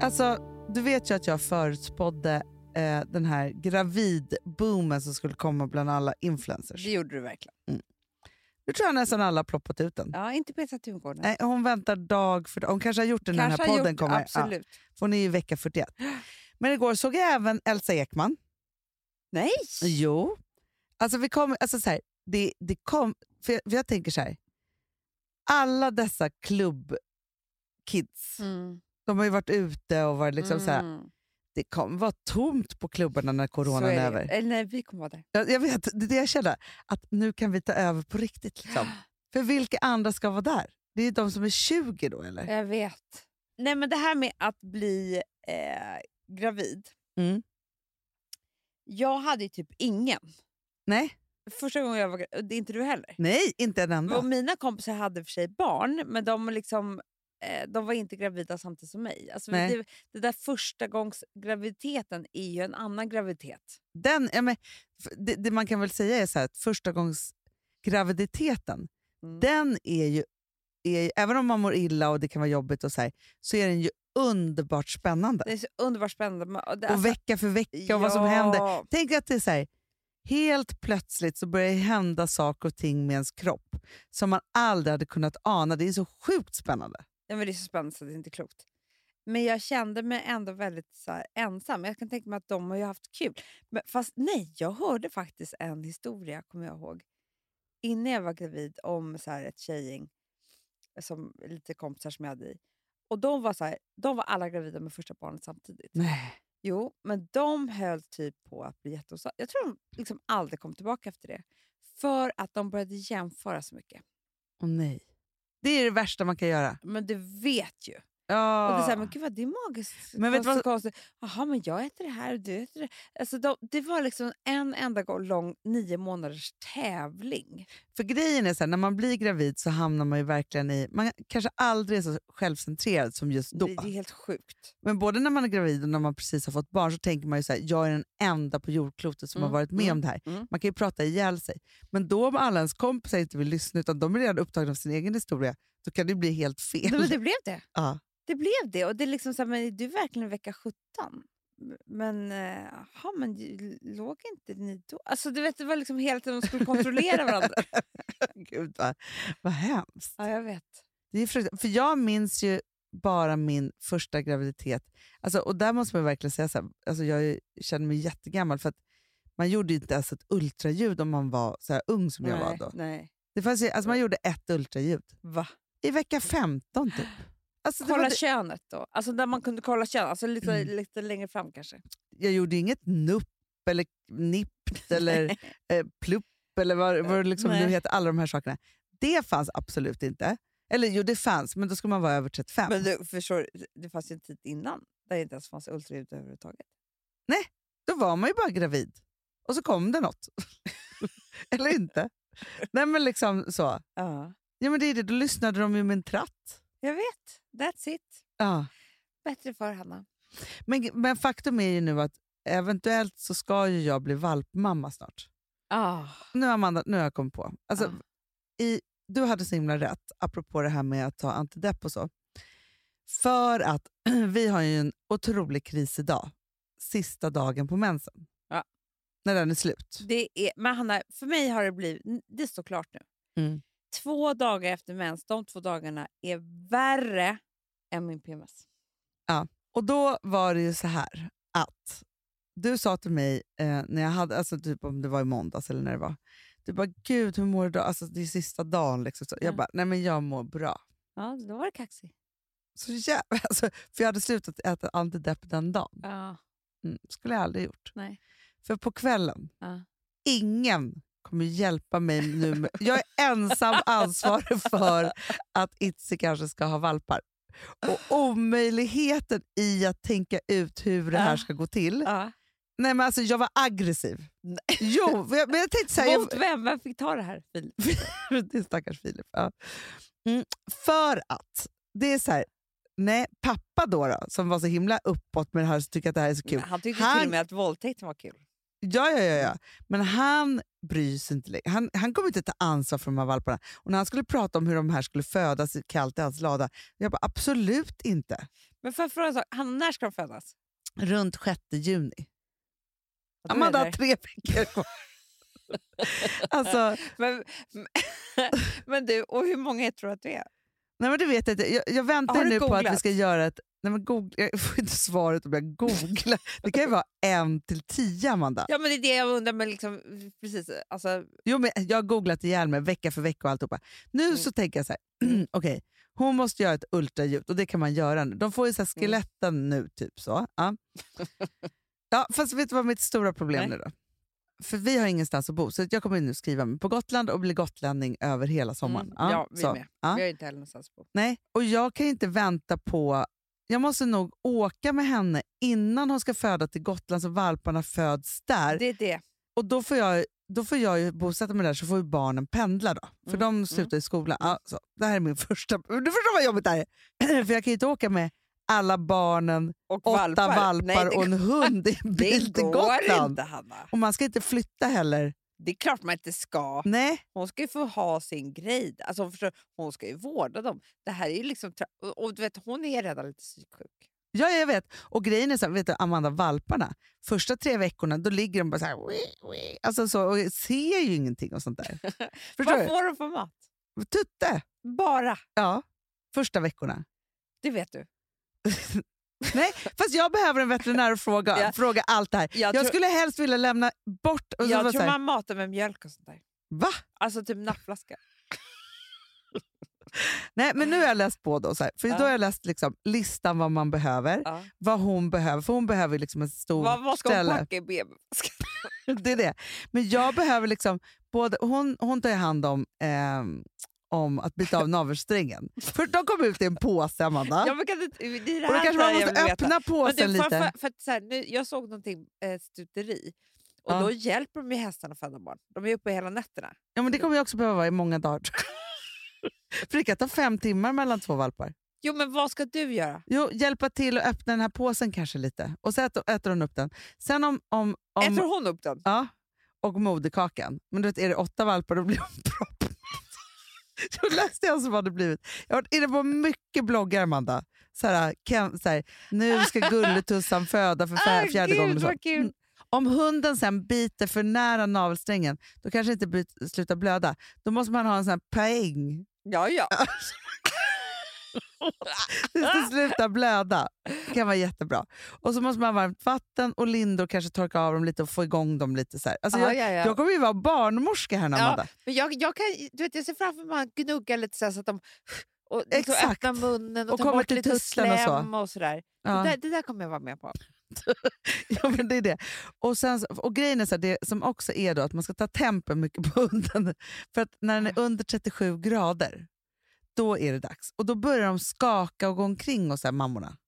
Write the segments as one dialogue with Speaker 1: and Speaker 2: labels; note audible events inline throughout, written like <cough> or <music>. Speaker 1: Alltså, du vet ju att jag förutspådde eh, den här gravidboomen som skulle komma bland alla influencers.
Speaker 2: Det gjorde du verkligen.
Speaker 1: Nu tror jag nästan alla har ploppat ut den.
Speaker 2: Ja, inte Petra Tungården.
Speaker 1: Nej, hon väntar dag för dag. Hon kanske har gjort den när den
Speaker 2: Kanske
Speaker 1: här
Speaker 2: har
Speaker 1: podden
Speaker 2: gjort,
Speaker 1: kommer. Ja,
Speaker 2: Absolut.
Speaker 1: för hon är ju vecka 41. Men igår såg jag även Elsa Ekman.
Speaker 2: Nej!
Speaker 1: Jo. Alltså, vi kom, alltså så här, det, det kom, för jag, för jag tänker så här. Alla dessa klubbkids,
Speaker 2: Mm.
Speaker 1: de har ju varit ute och varit liksom så här,
Speaker 2: Mm.
Speaker 1: det kommer vara tomt på klubbarna när
Speaker 2: Så
Speaker 1: coronan
Speaker 2: är
Speaker 1: är,
Speaker 2: det.
Speaker 1: över.
Speaker 2: Eller nej, vi kommer vara där.
Speaker 1: Jag, jag vet, det är det jag känner. Att nu kan vi ta över på riktigt. Liksom. För vilka andra ska vara där? Det är ju de som är 20 då eller?
Speaker 2: Jag vet. Nej, men det här med att bli eh, gravid.
Speaker 1: Mm.
Speaker 2: Jag hade ju typ ingen.
Speaker 1: Nej,
Speaker 2: Första gången jag var gravid, och det är inte du heller.
Speaker 1: nej, inte en enda.
Speaker 2: Och mina kompisar hade för sig barn, men de, liksom, eh, de var inte gravida samtidigt som mig. Alltså,
Speaker 1: Nej.
Speaker 2: det, det där första gångs graviditeten är ju en annan graviditet.
Speaker 1: Den, ja, men, f- det, det man kan väl säga är så här, att första gångs graviditeten,
Speaker 2: Mm.
Speaker 1: den är ju, är, ju- även om man mår illa och det kan vara jobbigt, och så, här, så är den ju underbart spännande.
Speaker 2: Det är så underbart spännande. men- och det- alltså,
Speaker 1: och vecka för vecka och vad som
Speaker 2: ja,
Speaker 1: händer. Tänk att det är så här, helt plötsligt så börjar det hända saker och ting med ens kropp som man aldrig hade kunnat ana. Det är så sjukt spännande.
Speaker 2: Ja, men det är så spännande så det är inte klokt. Men jag kände mig ändå väldigt så här, ensam. Jag kan tänka mig att de har ju haft kul. Men, fast nej, jag hörde faktiskt en historia, kommer jag ihåg, innan jag var gravid om så här, ett tjejgäng, som, lite kompisar som jag hade i. Och de var, så här, de var alla gravida med första barnet samtidigt.
Speaker 1: Nej.
Speaker 2: Jo, men de höll typ på att bli jätteosams. Jag tror de liksom aldrig kom tillbaka efter det. För att de började jämföra så mycket.
Speaker 1: Och nej. Det är det värsta man kan göra.
Speaker 2: Men du vet ju.
Speaker 1: Ja.
Speaker 2: Och det är så här, men gud vad det är magiskt.
Speaker 1: Men vet du
Speaker 2: så
Speaker 1: vad-
Speaker 2: konstigt. Jaha, men jag äter det här och du äter det. Alltså de, det var liksom en enda gång lång nio månaders tävling.
Speaker 1: För grejen är så här, när man blir gravid så hamnar man ju verkligen i... Man kanske aldrig är så självcentrerad som just då.
Speaker 2: Det, det är helt <laughs> sjukt.
Speaker 1: Men både när man är gravid och när man precis har fått barn så tänker man ju så här, jag är den enda på jordklotet som
Speaker 2: Mm,
Speaker 1: har varit med
Speaker 2: mm,
Speaker 1: om det här.
Speaker 2: mm.
Speaker 1: Man kan ju prata ihjäl sig. Men då om alla ens kompisar inte vill lyssna utan de är redan upptagna av sin egen historia, då kan det bli helt fel.
Speaker 2: Nej, men det blev det.
Speaker 1: <laughs> Ja.
Speaker 2: Det blev det. Och det är liksom så här, men är du verkligen vecka 17? Men eh, jaha, men ju- låg inte ni då? Alltså du vet, det var liksom hela tiden de skulle kontrollera <laughs> varandra.
Speaker 1: <laughs> Gud, vad, vad hemskt.
Speaker 2: ja, jag vet.
Speaker 1: Det är fruktansvärt. För jag minns ju bara min första graviditet. Alltså, och där måste man verkligen säga så här, alltså jag är- känner mig jättegammal för att man gjorde ju inte ens ett ultraljud om man var så här ung som jag var
Speaker 2: nej,
Speaker 1: då.
Speaker 2: nej.
Speaker 1: Det fanns ju, alltså man gjorde ett ultraljud.
Speaker 2: Va?
Speaker 1: I vecka 15 typ. Alltså, det var
Speaker 2: Kolla
Speaker 1: det,
Speaker 2: könet då. Alltså där man kunde kolla kön. Alltså lite,
Speaker 1: Mm.
Speaker 2: lite längre fram kanske.
Speaker 1: jag gjorde ju inget nupp eller
Speaker 2: <laughs>
Speaker 1: nippt eller eh, plupp eller vad, vad det liksom nu
Speaker 2: Nej.
Speaker 1: heter. Alla de här sakerna. Det fanns absolut inte. Eller jo, det fanns, men då skulle man vara över 35.
Speaker 2: Men du förstår, det fanns ju en tid innan där det inte ens fanns ultraljud överhuvudtaget.
Speaker 1: då var man ju bara gravid. Och så kom det något. <laughs> Eller inte. Nej men liksom så.
Speaker 2: Ja.
Speaker 1: Ja men det är det, då lyssnade de ju med en tratt.
Speaker 2: Jag vet, that's it.
Speaker 1: Ja.
Speaker 2: Bättre för Hanna.
Speaker 1: Men, men faktum är ju nu att eventuellt så ska ju jag bli valpmamma snart.
Speaker 2: Ah.
Speaker 1: Nu har, Amanda, nu har jag kommit på. Alltså,
Speaker 2: Ah.
Speaker 1: i, du hade så himla rätt, apropå det här med att ta antidepp och så. För att <clears throat> vi har ju en otrolig kris idag. Sista dagen på mensen.
Speaker 2: Ja.
Speaker 1: När den är slut.
Speaker 2: Det är, men Hanna, för mig har det blivit, det står klart nu.
Speaker 1: Mm.
Speaker 2: Två dagar efter mens, de två dagarna är värre än min PMS.
Speaker 1: Och då var det ju så här att du sa till mig, eh, när jag hade, alltså typ om det var i måndags eller när det var, du bara “Gud, hur mår du idag?” Alltså det är sista dagen. Liksom. Så jag
Speaker 2: Ja.
Speaker 1: bara “Nej men jag mår bra”.
Speaker 2: Ja, då var det kaxig.
Speaker 1: Så jä- <laughs> alltså, för jag hade slutat äta antidepp den dagen.
Speaker 2: Ja.
Speaker 1: Mm, skulle jag aldrig gjort.
Speaker 2: Nej.
Speaker 1: För på kvällen,
Speaker 2: Ja.
Speaker 1: ingen kommer hjälpa mig nu. Med, jag är ensam ansvarig för att Itzy kanske ska ha valpar. Och omöjligheten i att tänka ut hur det här
Speaker 2: Ja.
Speaker 1: ska gå till.
Speaker 2: Ja.
Speaker 1: Nej men alltså jag var aggressiv. Jo, men jag, men jag tänkte såhär...
Speaker 2: Mot vem? Vem fick ta det här? Filip?
Speaker 1: Jag, <laughs> det är stackars Filip. Ja. Mm, för att, det är så här, nej pappa då, då som var så himla uppåt med det här och tycker att det här är så kul.
Speaker 2: Han tyckte
Speaker 1: Han-
Speaker 2: till och med att våldtäkten var kul.
Speaker 1: Ja, ja, ja, ja. Men han bryr sig inte längre. Han, han kommer inte ta ansvar för de här valparna. Och när han skulle prata om hur de här skulle födas i- kallt i hans lada, jag bara absolut inte.
Speaker 2: Men för att fråga en sak, Hanna, när ska de födas?
Speaker 1: Runt 6 juni.
Speaker 2: Ja, då är
Speaker 1: Amanda har
Speaker 2: det där.
Speaker 1: tre veckor
Speaker 2: <laughs>
Speaker 1: kvar. alltså,
Speaker 2: Men, <laughs> men du, och hur många tror du att du är?
Speaker 1: nej men du vet jag inte. Jag, jag väntar
Speaker 2: Har
Speaker 1: ju
Speaker 2: du
Speaker 1: nu på att vi
Speaker 2: googlat?
Speaker 1: ska göra ett... Nej men googla, <laughs> jag får inte svaret om jag googlar. Det kan ju vara en till tio, Amanda.
Speaker 2: Ja, men det är det jag undrar. Men liksom, precis, alltså,
Speaker 1: Jo, men jag har googlat ihjäl mig vecka för vecka och alltihopa. Nu
Speaker 2: Mm.
Speaker 1: så tänker jag så här, <clears throat> okej, hon måste göra ett ultraljud och det kan man göra nu. De får ju så här
Speaker 2: Mm.
Speaker 1: skeletten nu, typ så.
Speaker 2: <laughs>
Speaker 1: Ja. ja, fast vet du vad mitt stora problem
Speaker 2: Nej.
Speaker 1: är då? För vi har ingenstans att bo, så jag kommer nu skriva mig på Gotland och bli gotlänning över hela sommaren.
Speaker 2: Mm, ja, vi
Speaker 1: så.
Speaker 2: med.
Speaker 1: Ja.
Speaker 2: vi har ju inte heller någonstans på.
Speaker 1: Nej, och jag kan ju inte vänta på... Jag måste nog åka med henne innan hon ska föda till Gotland så valparna föds där.
Speaker 2: Det är det.
Speaker 1: Och då får jag, då får jag ju bosätta mig där så får ju barnen pendla då. För
Speaker 2: Mm,
Speaker 1: de slutar i skolan. Ja, så, det här är min <laughs> första... Du förstår vad jobbigt det här är. <clears throat> för jag kan ju inte åka med alla barnen,
Speaker 2: Och
Speaker 1: åtta valpar,
Speaker 2: Nej, det,
Speaker 1: och <laughs> en
Speaker 2: <laughs>
Speaker 1: hund i en bil
Speaker 2: det
Speaker 1: till
Speaker 2: går
Speaker 1: Gotland.
Speaker 2: inte, Hanna.
Speaker 1: Och man ska inte flytta heller.
Speaker 2: Det är klart man inte ska.
Speaker 1: Nej,
Speaker 2: Hon ska ju få ha sin grej. Alltså, hon, förstår, hon ska ju vårda dem. Det här är ju liksom... tra- Och, och du vet, hon är redan lite psyksjuk.
Speaker 1: ja, jag vet. Och grejen är så här, vet du Amanda, valparna, första tre veckorna då ligger de bara så här, "Wii, wii", alltså så, och ser ju ingenting och sånt
Speaker 2: <laughs>
Speaker 1: där. förstår
Speaker 2: Vad
Speaker 1: du?
Speaker 2: får hon för mat?
Speaker 1: Tutte!
Speaker 2: Bara.
Speaker 1: Ja, första veckorna.
Speaker 2: Det vet du.
Speaker 1: Nej, fast jag behöver en veterinär och fråga,
Speaker 2: Ja.
Speaker 1: fråga allt det här.
Speaker 2: Jag,
Speaker 1: Jag,
Speaker 2: tror,
Speaker 1: skulle helst vilja lämna bort... Och så
Speaker 2: jag
Speaker 1: bara
Speaker 2: tror
Speaker 1: så här,
Speaker 2: man matar med mjölk och sånt där.
Speaker 1: Va?
Speaker 2: Alltså typ nappflaska.
Speaker 1: Nej, men nu har jag läst på då. Så här, för
Speaker 2: Ja.
Speaker 1: då har jag läst liksom, listan vad man behöver,
Speaker 2: Ja.
Speaker 1: vad hon behöver. För hon behöver liksom en stor
Speaker 2: Vad, vad ska
Speaker 1: ställe.
Speaker 2: hon packa i BB-väskan?
Speaker 1: Det är det. Men jag behöver liksom... Både, hon, hon tar ju hand om, ehm, om att bita av navelsträngen. För de kom ut i en påse, Amanda.
Speaker 2: Ja, men kan du, det är det
Speaker 1: och då
Speaker 2: här
Speaker 1: kanske
Speaker 2: där
Speaker 1: man
Speaker 2: jag vill
Speaker 1: måste
Speaker 2: veta.
Speaker 1: öppna
Speaker 2: Men
Speaker 1: påsen
Speaker 2: du, för,
Speaker 1: lite.
Speaker 2: för, för att så här, nu, jag såg någonting, eh, stuteri, och
Speaker 1: Ja.
Speaker 2: då hjälper de ju hästarna att föda barn. De är uppe hela nätterna.
Speaker 1: Ja, men det kommer jag också behöva vara i många dagar. <laughs> för det kan ta fem timmar mellan två valpar.
Speaker 2: Jo, men vad ska du göra?
Speaker 1: Jo, hjälpa till att öppna den här påsen kanske lite. Och så äter, äter hon upp den. Sen om... om, om
Speaker 2: Äter hon upp den?
Speaker 1: Ja, och moderkakan. Men du vet, är det åtta valpar då blir hon <laughs> propp. Då läste jag så vad det blivit. Jag har varit inne på mycket bloggar, Amanda. Så här, Ken, så här, nu ska gulletussan föda för
Speaker 2: Ah,
Speaker 1: fjär, fjärde
Speaker 2: Gud,
Speaker 1: gången. och Så.
Speaker 2: vad kul.
Speaker 1: Mm. Om hunden sen biter för nära navelsträngen, då kanske inte bryt, slutar blöda. Då måste man ha en sån här poäng <laughs>
Speaker 2: Ja, ja.
Speaker 1: Alltså, tills det slutar blöda. Det kan vara jättebra. Och så måste man ha varmt vatten och lindor, kanske torka av dem lite och få igång dem lite. Så här. Alltså, jag,
Speaker 2: ja, Ah, ja, ja.
Speaker 1: jag kommer ju vara barnmorska här, nu,
Speaker 2: Ja,
Speaker 1: Amanda.
Speaker 2: Men jag, jag, kan, du vet, jag ser framför mig att man gnuggar lite så, här så att de <sighs> och liksom
Speaker 1: Exakt.
Speaker 2: öppnar munnen och,
Speaker 1: Och
Speaker 2: tar
Speaker 1: kommer
Speaker 2: bort
Speaker 1: till
Speaker 2: lite
Speaker 1: tutten och så.
Speaker 2: slem och sådär.
Speaker 1: Ja.
Speaker 2: Det, där, det där kommer jag vara med på.
Speaker 1: <laughs> Ja, men det är det. Och, sen, så- och grejen är så här, det som också är då att man ska ta tempen mycket på hunden. För att när den är under 37 grader, då är det dags. Och då börjar de skaka och gå omkring och så här, mammorna.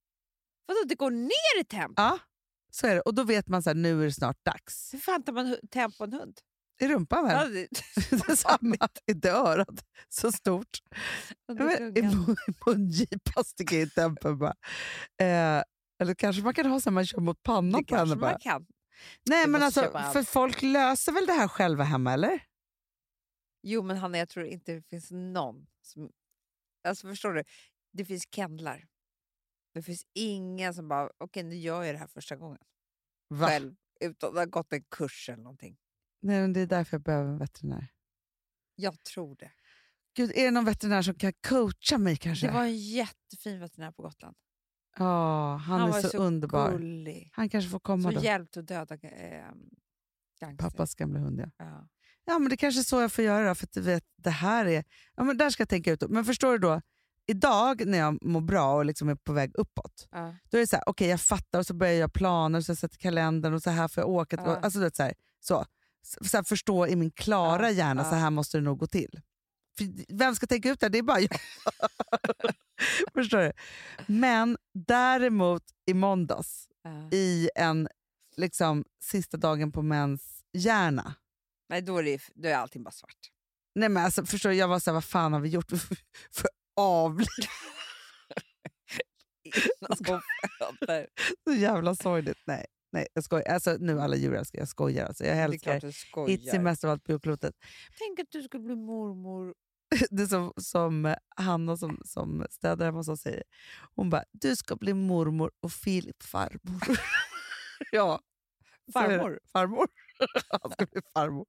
Speaker 2: Vadå, det går ner i temp?
Speaker 1: Ja, så är det. Och då vet man så här, nu är det snart dags.
Speaker 2: Hur fan tar man hu- temp på en hund?
Speaker 1: I rumpan
Speaker 2: Ja,
Speaker 1: väl?
Speaker 2: det, <laughs>
Speaker 1: <laughs> Det är samma, inte örat. Så stort.
Speaker 2: under
Speaker 1: Ja, men I <laughs>
Speaker 2: tungan.
Speaker 1: mun- i mungipan sticker jag in tempen bara. Eh, eller kanske man kan ha så här, man kör mot pannan
Speaker 2: det
Speaker 1: på henne
Speaker 2: kanske
Speaker 1: bara.
Speaker 2: man kan.
Speaker 1: Nej
Speaker 2: Vi
Speaker 1: men
Speaker 2: måste
Speaker 1: alltså,
Speaker 2: köpa allt.
Speaker 1: för folk löser väl det här själva hemma eller?
Speaker 2: Jo, men Hanna, jag tror inte det finns någon som... Alltså, förstår du? Det finns kendlar. Det finns ingen som bara, okej, nu gör jag det här första gången
Speaker 1: Va?
Speaker 2: själv. Utan att ha gått en kurs eller någonting.
Speaker 1: Nej, men det är därför jag behöver en veterinär.
Speaker 2: Jag tror det.
Speaker 1: Gud, är det någon veterinär som kan coacha mig kanske?
Speaker 2: Det var en jättefin veterinär på Gotland.
Speaker 1: Ja, han,
Speaker 2: han
Speaker 1: är
Speaker 2: var
Speaker 1: så,
Speaker 2: ju så
Speaker 1: underbar.
Speaker 2: Gullig.
Speaker 1: Han kanske får komma
Speaker 2: Som
Speaker 1: då.
Speaker 2: hjälpte att döda eh, gangster.
Speaker 1: Pappas gamla hund, ja.
Speaker 2: Ja.
Speaker 1: Ja, men det kanske är så jag får göra då, för att du vet, det här är... Ja, men där ska jag tänka ut. Men förstår du då, idag när jag mår bra och liksom är på väg uppåt,
Speaker 2: Ja.
Speaker 1: då är det så här, okej jag fattar och så börjar jag planer och så jag sätter kalendern och så här får jag åka. till-
Speaker 2: Ja.
Speaker 1: Alltså du vet, så här, så. Så, så här, förstå i min klara
Speaker 2: Ja,
Speaker 1: hjärna, så
Speaker 2: ja.
Speaker 1: här måste det nog gå till. För, vem ska tänka ut det? här? Det är bara jag. <laughs> förstår du? Men däremot i måndags,
Speaker 2: Ja.
Speaker 1: i en liksom sista dagen på mens hjärna.
Speaker 2: Nej, då är, det, då är allting
Speaker 1: <laughs>
Speaker 2: bara svart.
Speaker 1: Nej men alltså förstår du, jag var så här, vad fan har vi gjort <laughs> för avliv?
Speaker 2: <laughs> Innan hon Alltså, föder.
Speaker 1: Så jävla sorgligt. Nej, nej jag skojar. Alltså nu alla djur älskar jag, skojar alltså. Jag
Speaker 2: Det är
Speaker 1: älskar
Speaker 2: klart du
Speaker 1: Itzy
Speaker 2: skojar.
Speaker 1: mest av allt på jordklotet. <laughs>
Speaker 2: Tänk att du skulle bli mormor
Speaker 1: det som, som eh, Hanna som, som städar hemma hos oss säger. Hon bara, du ska bli mormor och Filip farmor. <laughs> ja, så är det.
Speaker 2: Farmor.
Speaker 1: Farmor. <laughs> Han ska bli farmor.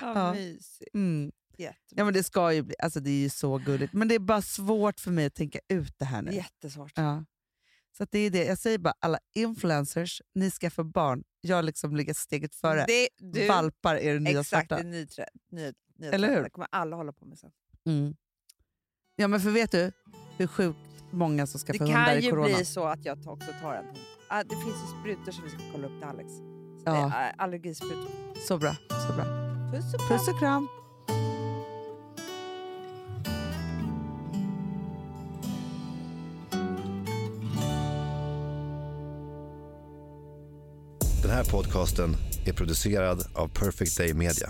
Speaker 1: Ja.
Speaker 2: Ja, mysigt.
Speaker 1: Mm. Ja, men det ska ju bli, alltså det är ju så gulligt. Men det är bara svårt för mig att tänka ut det här nu.
Speaker 2: Jättesvårt.
Speaker 1: Ja. Så att det är det. Jag säger bara alla influencers, ni ska få barn. Jag liksom ligger steget före.
Speaker 2: Det, du,
Speaker 1: Valpar är det nya
Speaker 2: exakt, det
Speaker 1: svarta.
Speaker 2: är nyträ, ny, ny,
Speaker 1: Eller hur?
Speaker 2: Det kommer alla hålla på med sen.
Speaker 1: Mm. Ja men för vet du hur sjukt många som ska
Speaker 2: Det
Speaker 1: få hundar
Speaker 2: kan
Speaker 1: i
Speaker 2: ju
Speaker 1: corona?
Speaker 2: bli så att jag tar- också tar en hund. Ah, det finns ju sprutor som vi ska kolla upp till Alex. Så
Speaker 1: Ja.
Speaker 2: det är allergisprutor.
Speaker 1: Så bra. Så bra.
Speaker 2: Puss och kram.
Speaker 1: Puss och kram.
Speaker 3: Den här podcasten är producerad av Perfect Day Media.